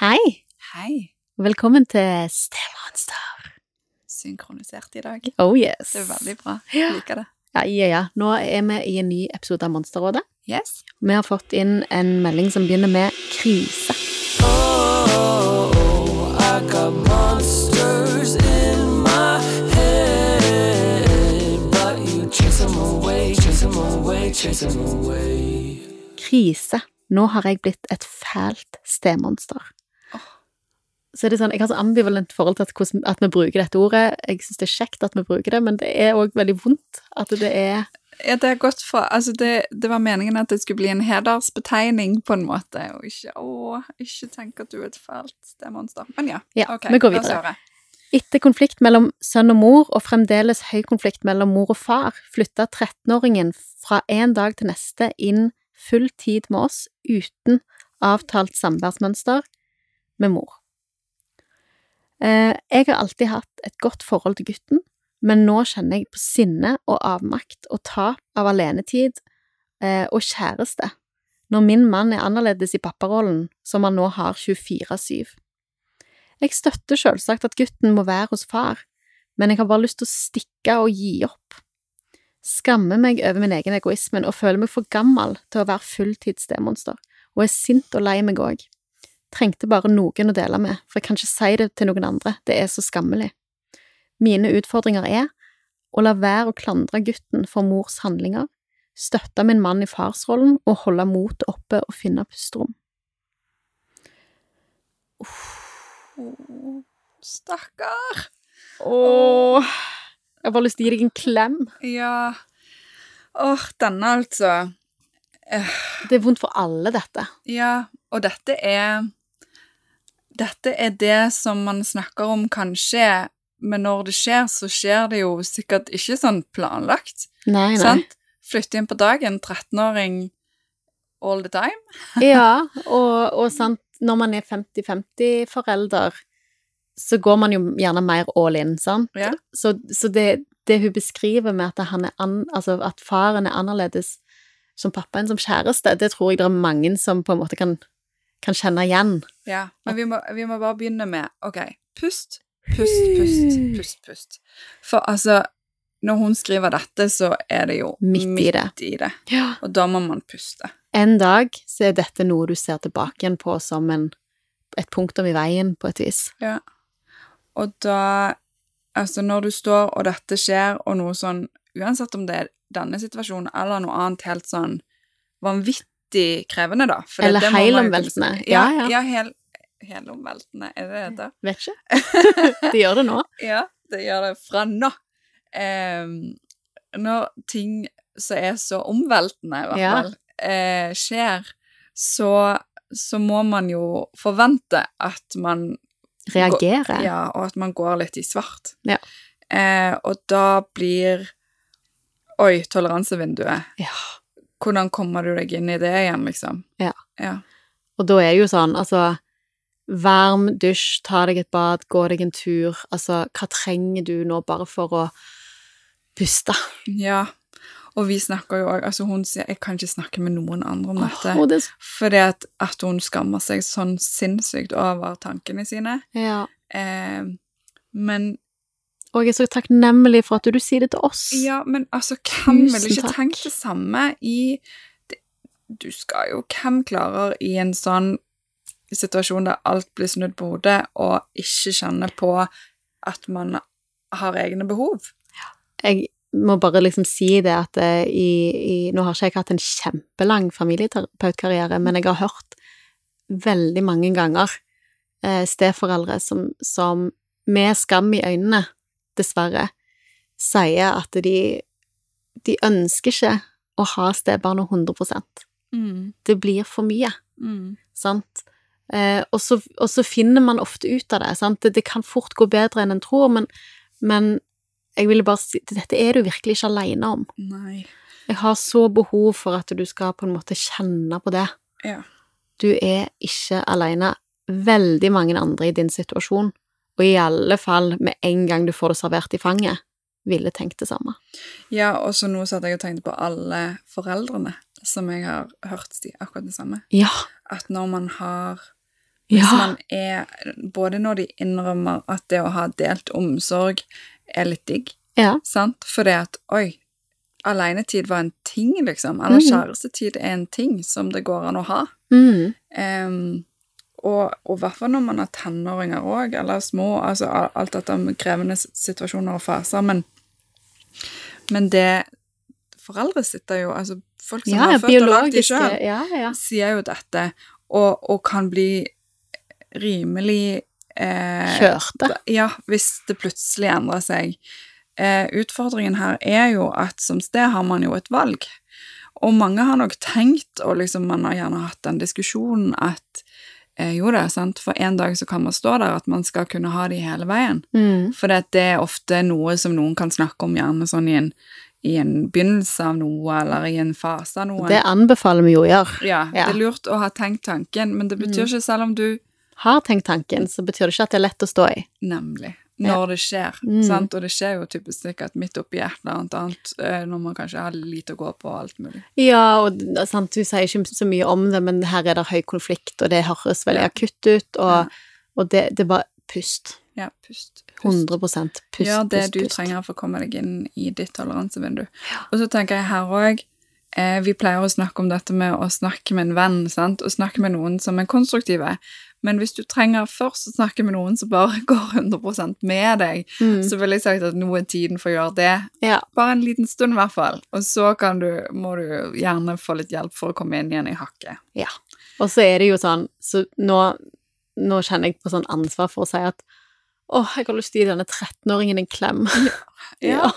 Hei, Hei. velkommen til Stemonster. Synkronisert i dag. Oh yes. Det er veldig bra. Ja. Jeg liker det. Ja, ja, ja. Nå er vi i en ny episode av Monsterrådet. Yes. Vi har fått inn en melding som begynner med krise. Krise. Nå har jeg blitt et fælt stemonster. Så er det sånn, Jeg har så ambivalent forhold til at, hvordan, at vi bruker dette ordet. Jeg syns det er kjekt at vi bruker det, men det er òg veldig vondt at det er Ja, det har gått fra Altså, det, det var meningen at det skulle bli en hedersbetegning, på en måte, og ikke Å, ikke tenk at du er et fælt stemmonster. Men ja. Ja, ok, vi går la oss videre. høre. Etter konflikt mellom sønn og mor, og fremdeles høy konflikt mellom mor og far, flytta 13-åringen fra en dag til neste inn full tid med oss uten avtalt samværsmønster med mor. Eh, Jeg har alltid hatt et godt forhold til gutten, men nå kjenner jeg på sinne og avmakt og tap av alenetid eh, og kjæreste når min mann er annerledes i papparollen, som han nå har 24-7. Jeg støtter selvsagt at gutten må være hos far, men jeg har bare lyst til å stikke og gi opp. Skammer meg over min egen egoismen og føler meg for gammel til å være fulltidsdemonster, og er sint og lei meg òg. Trengte bare noen å dele med, for jeg kan ikke si det til noen andre, det er så skammelig. Mine utfordringer er å la være å klandre gutten for mors handlinger, støtte min mann i farsrollen og holde motet oppe og finne pusterom. Å, stakkar. Åh, jeg har bare lyst til å gi deg en klem. Ja. Åh, denne, altså. Det er vondt for alle, dette. Ja, og dette er Dette er det som man snakker om kan skje, men når det skjer, så skjer det jo sikkert ikke sånn planlagt. Nei, Sant? Flytte inn på dagen, 13-åring all the time. Ja, og, og sant, når man er 50-50-forelder, så går man jo gjerne mer all in, sant? Ja. Så, så det, det hun beskriver med at, han er an, altså at faren er annerledes som pappaen som kjæreste, det tror jeg det er mange som på en måte kan, kan kjenne igjen. Ja, men vi må, vi må bare begynne med OK, pust, pust, pust, pust, pust. For altså, når hun skriver dette, så er det jo Midt i det. i det. Og da må man puste. En dag så er dette noe du ser tilbake igjen på som en, et punktum i veien, på et vis. Ja. Og da Altså, når du står, og dette skjer, og noe sånn Uansett om det er denne situasjonen eller noe annet helt sånn vanvittig krevende, da. for det- Eller det må man jo kunne helomveltende. si. Ja, Ja, ja. ja. hel, helomveltende, er det det heter? Vet ikke. det gjør det nå. Ja, det gjør det fra nå. Ehm, når ting som er så omveltende, i hvert Ja. fall, eh, skjer, så, så må man jo forvente at man Reagere. Ja, og at man går litt i svart. Ja. Eh, og da blir Oi, toleransevinduet. Ja. Hvordan kommer du deg inn i det igjen, liksom? Ja. ja. Og da er det jo sånn, altså Varm dusj, ta deg et bad, gå deg en tur. Altså, hva trenger du nå bare for å puste? Ja. Og vi snakker jo òg Altså, hun sier 'jeg kan ikke snakke med noen andre om dette'. Åh, det er så- Fordi at, at hun skammer seg sånn sinnssykt over tankene sine. ja. Eh, men Og jeg er så takknemlig for at du, du sier det til oss. Ja, men altså, hvem vil Tusen ikke takk. tenke det samme i det- Du skal jo Hvem klarer i en sånn situasjon der alt blir snudd på hodet, og ikke kjenne på at man har egne behov? Jeg må bare liksom si det at eh, i, i Nå har ikke jeg hatt en kjempelang familieterapeutkarriere, men jeg har hørt veldig mange ganger eh, steforeldre som, som med skam i øynene, dessverre, sier at de, de ønsker ikke å ha stebarna 100 Det blir for mye, mm. sant? Eh, og, så, og så finner man ofte ut av det, sant? Det, det kan fort gå bedre enn en tror, men, men jeg ville bare si Dette er du virkelig ikke aleine om. Nei. Jeg har så behov for at du skal på en måte kjenne på det. Ja. Du er ikke aleine. Veldig mange andre i din situasjon, og i alle fall med en gang du får det servert i fanget, ville tenkt det samme. Ja, og så nå satt jeg og tenkte på alle foreldrene som jeg har hørt si akkurat det samme. Ja, At når man har Hvis Ja. man er Både når de innrømmer at det å ha delt omsorg er litt digg, Ja. sant? Fordi at Oi, alenetid var en ting, liksom. Eller Mhm. kjærestetid er en ting som det går an å ha. Mm. Em, og og i hvert fall når man har tenåringer òg, eller små. altså a- Alt dette med krevende s- situasjoner og faser. Men, men det Foreldre sitter jo altså Folk som ja eh, har født og lagd de biologiske sjøl, Ja, ja. sier jo dette, og, og kan bli rimelig eh, Kjørte. Ja, hvis det plutselig endrer seg. Eh, utfordringen her er jo at som sted har man jo et valg. Og mange har nok tenkt, og liksom man har gjerne hatt den diskusjonen, at eh, jo da, sant, for en dag så kan man stå der at man skal kunne ha de hele veien. Mm. For det er ofte noe som noen kan snakke om gjerne sånn i en, i en begynnelse av noe, eller i en fase av noe. Det anbefaler vi jo å gjøre. Ja, Ja. Mm. det er lurt å ha tenkt tanken, men det betyr ikke selv om du Har tenkt tanken, så betyr det ikke at det er lett å stå i. Nemlig. Ja. Når det skjer. Mm. Sant? Og det skjer jo typisk sikkert midt oppi et eller annet annet, eh, når man kanskje har lite å gå på og alt mulig. Ja, og d- sant, hun sier ikke så mye om det, men her er det høy konflikt, og det høres veldig Ja. akutt ut, og, Ja. og det, det var pust. Ja, pust. pust. 100 pust, pust, Gjør det pust, du pust. trenger for å komme deg inn i ditt toleransevindu. Og så tenker jeg her òg eh, Vi pleier å snakke om dette med å snakke med en venn, sant? og snakke med noen som er konstruktive. Men hvis du trenger først å snakke med noen som bare går 100 med deg, Mm. så ville jeg sagt at nå er tiden for å gjøre det. Ja. Bare en liten stund, i hvert fall. Og så kan du, må du gjerne få litt hjelp for å komme inn igjen i hakket. Ja. Og så er det jo sånn så nå, nå kjenner jeg på sånn ansvar for å si at åh, jeg har lyst til å gi denne 13-åringen en klem. Ja.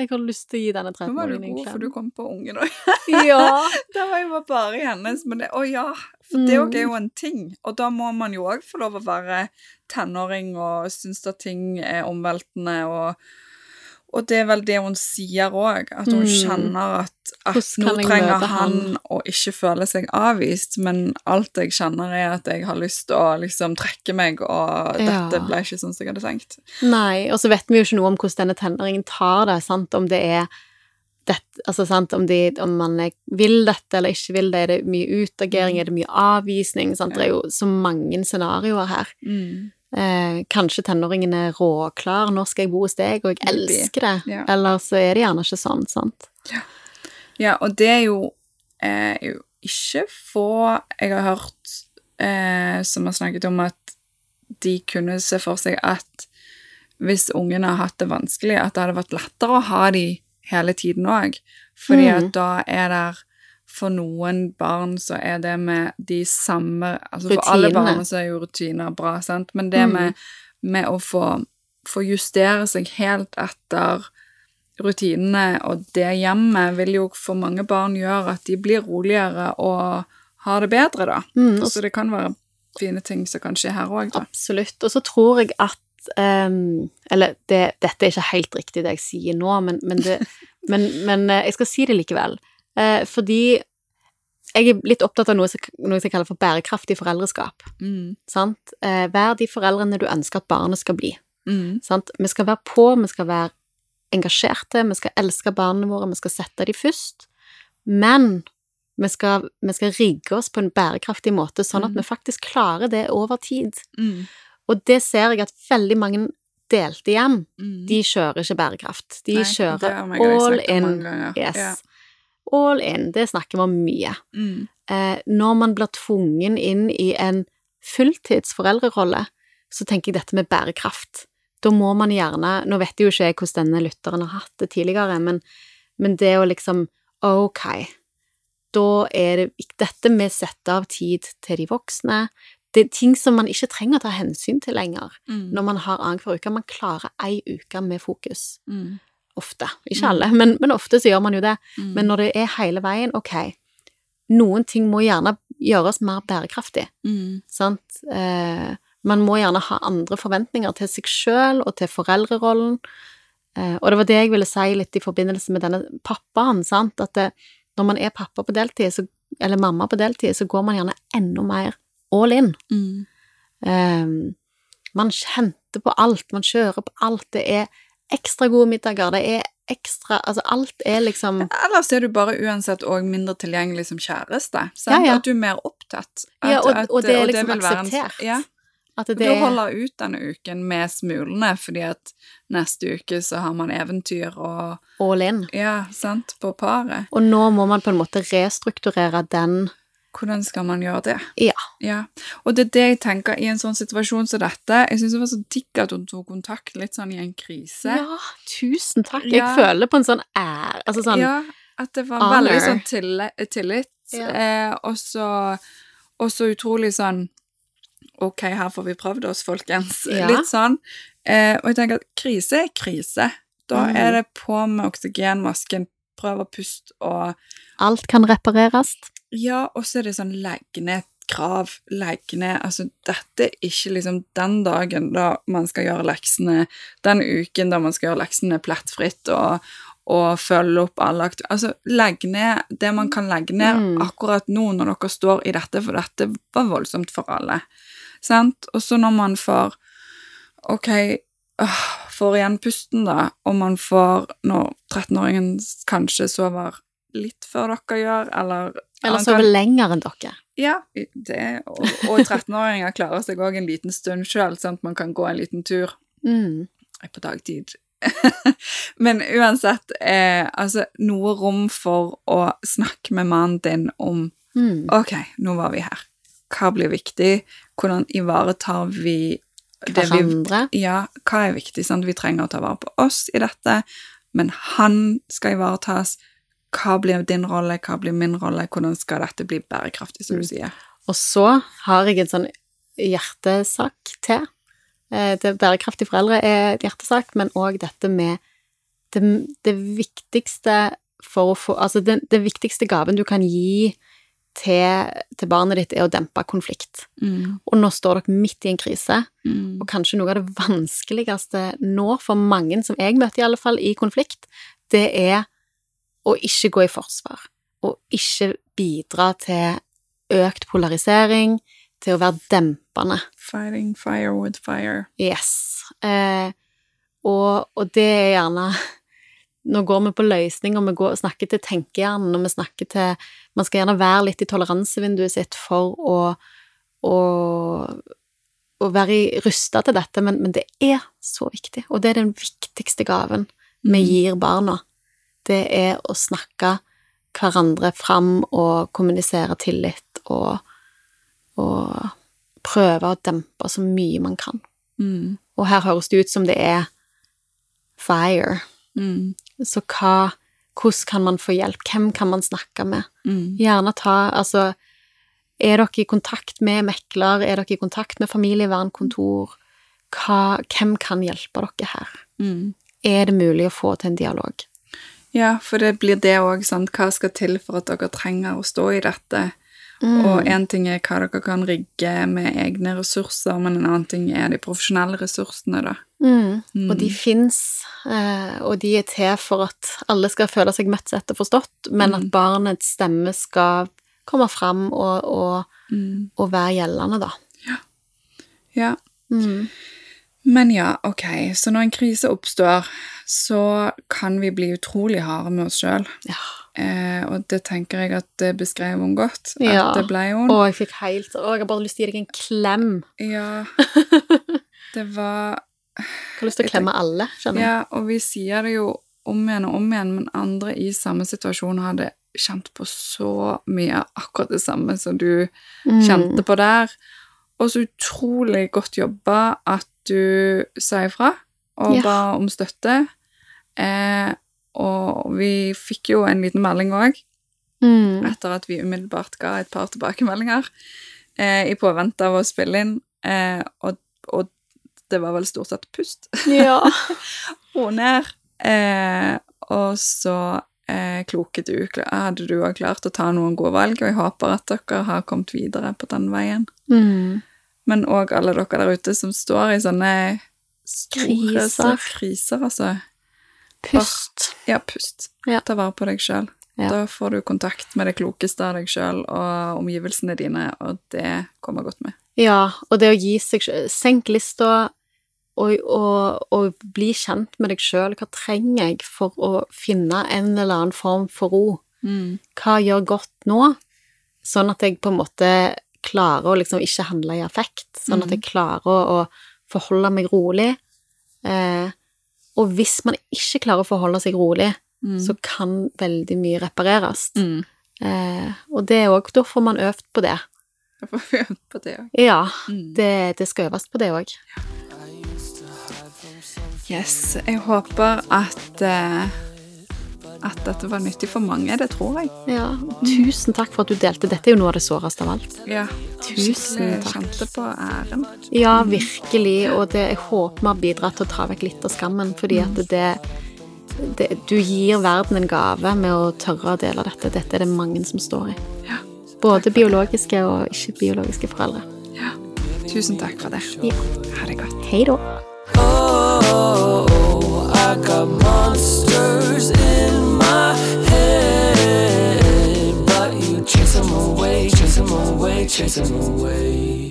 Jeg har lyst til å gi denne Nå var du 13-åringen en god, for klem. du kom på ungen òg. Ja. Det var jo bare i hennes. Men det, å ja, for Mm. det òg er jo en ting. Og da må man jo òg få lov å være tenåring og synes at ting er omveltende og og det er vel det hun sier òg, at hun Mm. kjenner at, at Hvordan nå kan jeg trenger møte han han? å ikke føle seg avvist, men alt jeg kjenner er at jeg har lyst til å liksom trekke meg, og Ja. dette ble ikke sånn som jeg hadde tenkt. Nei, og så vet vi jo ikke noe om hvordan denne tenåringen tar det, sant, om det er det, altså sant, om, de, om man er- vil dette eller ikke vil det, er det mye utagering, Mm. er det mye avvisning, sant, det er jo så mange scenarioer her. Eh, kanskje tenåringen er råklar, nå skal jeg bo hos deg, og jeg Maybe. elsker det. Ja. Eller så er det gjerne ikke sånn, sant? Ja, og det er jo, eh, jo ikke få jeg har hørt eh, som har snakket om at de kunne se for seg at hvis ungene har hatt det vanskelig, at det hadde vært lettere å ha de hele tiden òg. Fordi Mm. at da er det for noen barn så er det med de samme altså For alle Rutinene. barn så er jo rutiner bra, sant, men det Mm. med, med å få, få justere seg helt etter rutinene og det hjemmet vil jo for mange barn gjøre at de blir roligere og har det bedre, da. Mm, og Så det kan være fine ting som kan skje her òg, da. Absolutt. Og så tror jeg at ehm, Eller det, dette er ikke helt riktig det jeg sier nå, men, men, det, men, men eh, jeg skal si det likevel. Eh, fordi jeg er litt opptatt av noe, som- noe som jeg kaller for bærekraftig foreldreskap. Mm. Sant? Eh, vær de foreldrene du ønsker at barnet skal bli. Mm. Sant? Vi skal være på, vi skal være engasjerte, vi skal elske barna våre, vi skal sette de først. Men vi skal, vi skal rigge oss på en bærekraftig måte, sånn at Mhm. vi faktisk klarer det over tid. Mm. Og det ser jeg at veldig mange delte hjem, Mm. de kjører ikke bærekraft. De Nei, det kjører har meg også all sagt om in. mange ganger. Yes. Ja. All in, det snakker vi om mye. Mm. Eh, når man blir tvungen inn i en fulltidsforeldrerolle, så tenker jeg dette med bærekraft. Da må man gjerne Nå vet jeg jo ikke jeg hvordan denne lytteren har hatt det tidligere, men, men det å liksom Ok, da er det vik- Dette med å sette av tid til de voksne Det er ting som man ikke trenger å ta hensyn til lenger Mm. når man har annenhver uke. Man klarer ei uke med fokus. Mm. Ofte. Mm. Ikke alle, men, men ofte så gjør man jo det. Mm. Men når det er hele veien, ok, noen ting må gjerne gjøres mer bærekraftig, mm. sant? Eh, man må gjerne ha andre forventninger til seg selv og til foreldrerollen. Eh, og det var det jeg ville si litt i forbindelse med denne pappaen, sant? At det, når man er pappa på deltid, så, eller mamma på deltid, så går man gjerne enda mer all in. Mm. Ehm, man kjente på alt, man kjører på alt. Det er ekstra gode middager, det er ekstra Altså alt er liksom Ellers er du bare uansett òg mindre tilgjengelig som kjæreste. Sant? Ja, ja. At du er mer opptatt. At, Ja, og, at- og det er liksom vil være en- akseptert. Ja, At og det du er holder ut denne uken med smulene, fordi at neste uke så har man eventyr og all in. Ja, sant, på paret. Og nå må man på en måte restrukturere den Hvordan skal man gjøre det? Ja. Ja, Og det er det jeg tenker i en sånn situasjon som dette. Jeg syns det var så digg at hun tok kontakt litt sånn i en krise. Ja, tusen takk. Ja. Jeg føler på en sånn ære Altså sånn Ja, at det var Honor. veldig sånn tilli- tillit, Ja. eh, og så og så utrolig sånn Ok, her får vi prøvd oss, folkens. Ja. Litt sånn. Eh, og jeg tenker at krise er krise. Da Mhm. er det på med oksygenmasken, prøv å puste og Alt kan repareres. Ja, og så er det sånn legg ned et krav, legg ned Altså, dette er ikke liksom den dagen da man skal gjøre leksene, den uken da man skal gjøre leksene plettfritt og, og følge opp alle aktu... Altså, legg ned det man kan legge ned Mm. akkurat nå når dere står i dette, for dette var voldsomt for alle. Sant? Og så når man får Ok, øh, får igjen pusten, da, og man får Når 13-åringen kanskje sover litt før dere gjør, eller Eller han sove kan- lenger enn dere. ja, det, og, og 13-åringer klarer seg òg en liten stund sjøl, sånn at man kan gå en liten tur Mm. på dagtid. Men uansett, eh, altså noe rom for å snakke med mannen din om Mm. Ok, nå var vi her. Hva blir viktig? Hvordan ivaretar vi det vi Hverandre. Ja, hva er viktig? Sant? Vi trenger å ta vare på oss i dette, men han skal ivaretas. Hva blir din rolle? Hva blir min rolle? Hvordan skal dette bli bærekraftig, som Mm. du sier? Og så har jeg en sånn hjertesak til. Eh, Det bærekraftige foreldre er et hjertesak, men òg dette med det, det viktigste for å få Altså, den, den viktigste gaven du kan gi til, til barnet ditt, er å dempe konflikt. Mm. Og nå står dere midt i en krise, og kanskje noe av det vanskeligste nå for mange som jeg møter, i alle fall, i konflikt, det er å ikke gå i forsvar. Og ikke bidra til økt polarisering, til å være dempende. Fighting fire with fire. Yes. Eh, og, og det er gjerne Nå går vi på løsninger, vi går, snakker til tenkehjernen, og vi snakker til Man skal gjerne være litt i toleransevinduet sitt for å, å, å være rusta til dette, men, men det er så viktig. Og det er den viktigste gaven vi gir barna. Det er å snakke hverandre fram og kommunisere tillit og, og prøve å dempe så mye man kan. Mm. Og her høres det ut som det er fire. Mm. Så hva, hvordan kan man få hjelp? Hvem kan man snakke med? Mm. Gjerne ta Altså, er dere i kontakt med mekler? Er dere i kontakt med familievernkontor? Hva, hvem kan hjelpe dere her? Mm. Er det mulig å få til en dialog? Ja, for det blir det òg, sant. Hva skal til for at dere trenger å stå i dette? Og én ting er hva dere kan rigge med egne ressurser, men en annen ting er de profesjonelle ressursene, da. Mm. Mm. Og de fins, eh, og de er til for at alle skal føle seg møtt, sett og forstått, men at Mm. barnets stemme skal komme fram og, og, Mm. og være gjeldende, da. Ja. Mm. Men ja, ok, så når en krise oppstår, så kan vi bli utrolig harde med oss sjøl. Ja. Eh, og det tenker jeg at det beskrev hun godt. At Ja. det ble hun. Å, jeg fikk helt Å, jeg har bare lyst til å gi deg en klem. Ja. Det var Jeg har lyst til å klemme alle, skjønner du. Ja, og vi sier det jo om igjen og om igjen, men andre i samme situasjon hadde kjent på så mye akkurat det samme som du Mm. kjente på der. Og så utrolig godt jobba at du sa ifra og Ja. ba om støtte. Eh, og vi fikk jo en liten melding òg, Mm. etter at vi umiddelbart ga et par tilbakemeldinger eh, i påvente av å spille inn. Eh, og, og det var vel stort sett pust Ja. og ned. Eh, og så eh, kloke du. Kla- Hadde du òg klart å ta noen gode valg, og jeg håper at dere har kommet videre på den veien. Mm. Men òg alle dere der ute som står i sånne store Kriser. kriser, kriser altså. Pust. Ja, pust. Ja. Ta vare på deg sjøl. Ja. Da får du kontakt med det klokeste av deg sjøl og omgivelsene dine, og det kommer godt med. Ja, og det å gi seg sjøl Senk lista, og, og, og bli kjent med deg sjøl. Hva trenger jeg for å finne en eller annen form for ro? Mm. Hva gjør godt nå? Sånn at jeg på en måte klarer å liksom ikke handle i affekt. Sånn Mm. at jeg klarer å, å forholde meg rolig. Eh, og hvis man ikke klarer å forholde seg rolig, Mm. så kan veldig mye repareres. mm. Eh, og det er òg Da får man øvd på det. Da får vi øve på det òg. Ja, Mm. det, det skal øves på det òg. Yes. Jeg håper at eh, at dette var nyttig for mange. Det tror jeg. Ja. Tusen takk for at du delte. Dette er jo noe av det såreste av alt. Ja. Tusen Jeg takk. kjente på æren. Ja, virkelig. Og det, jeg håper vi har bidratt til å ta vekk litt av skammen. Fordi at det, det Du gir verden en gave med å tørre å dele dette. Dette er det mange som står i. Ja. Både biologiske og ikke-biologiske foreldre. ja. Tusen takk for det. Ja. Ha det godt. Hei da. Oh, I got monsters in my head, but you chase 'em away, chase 'em away, chase 'em away.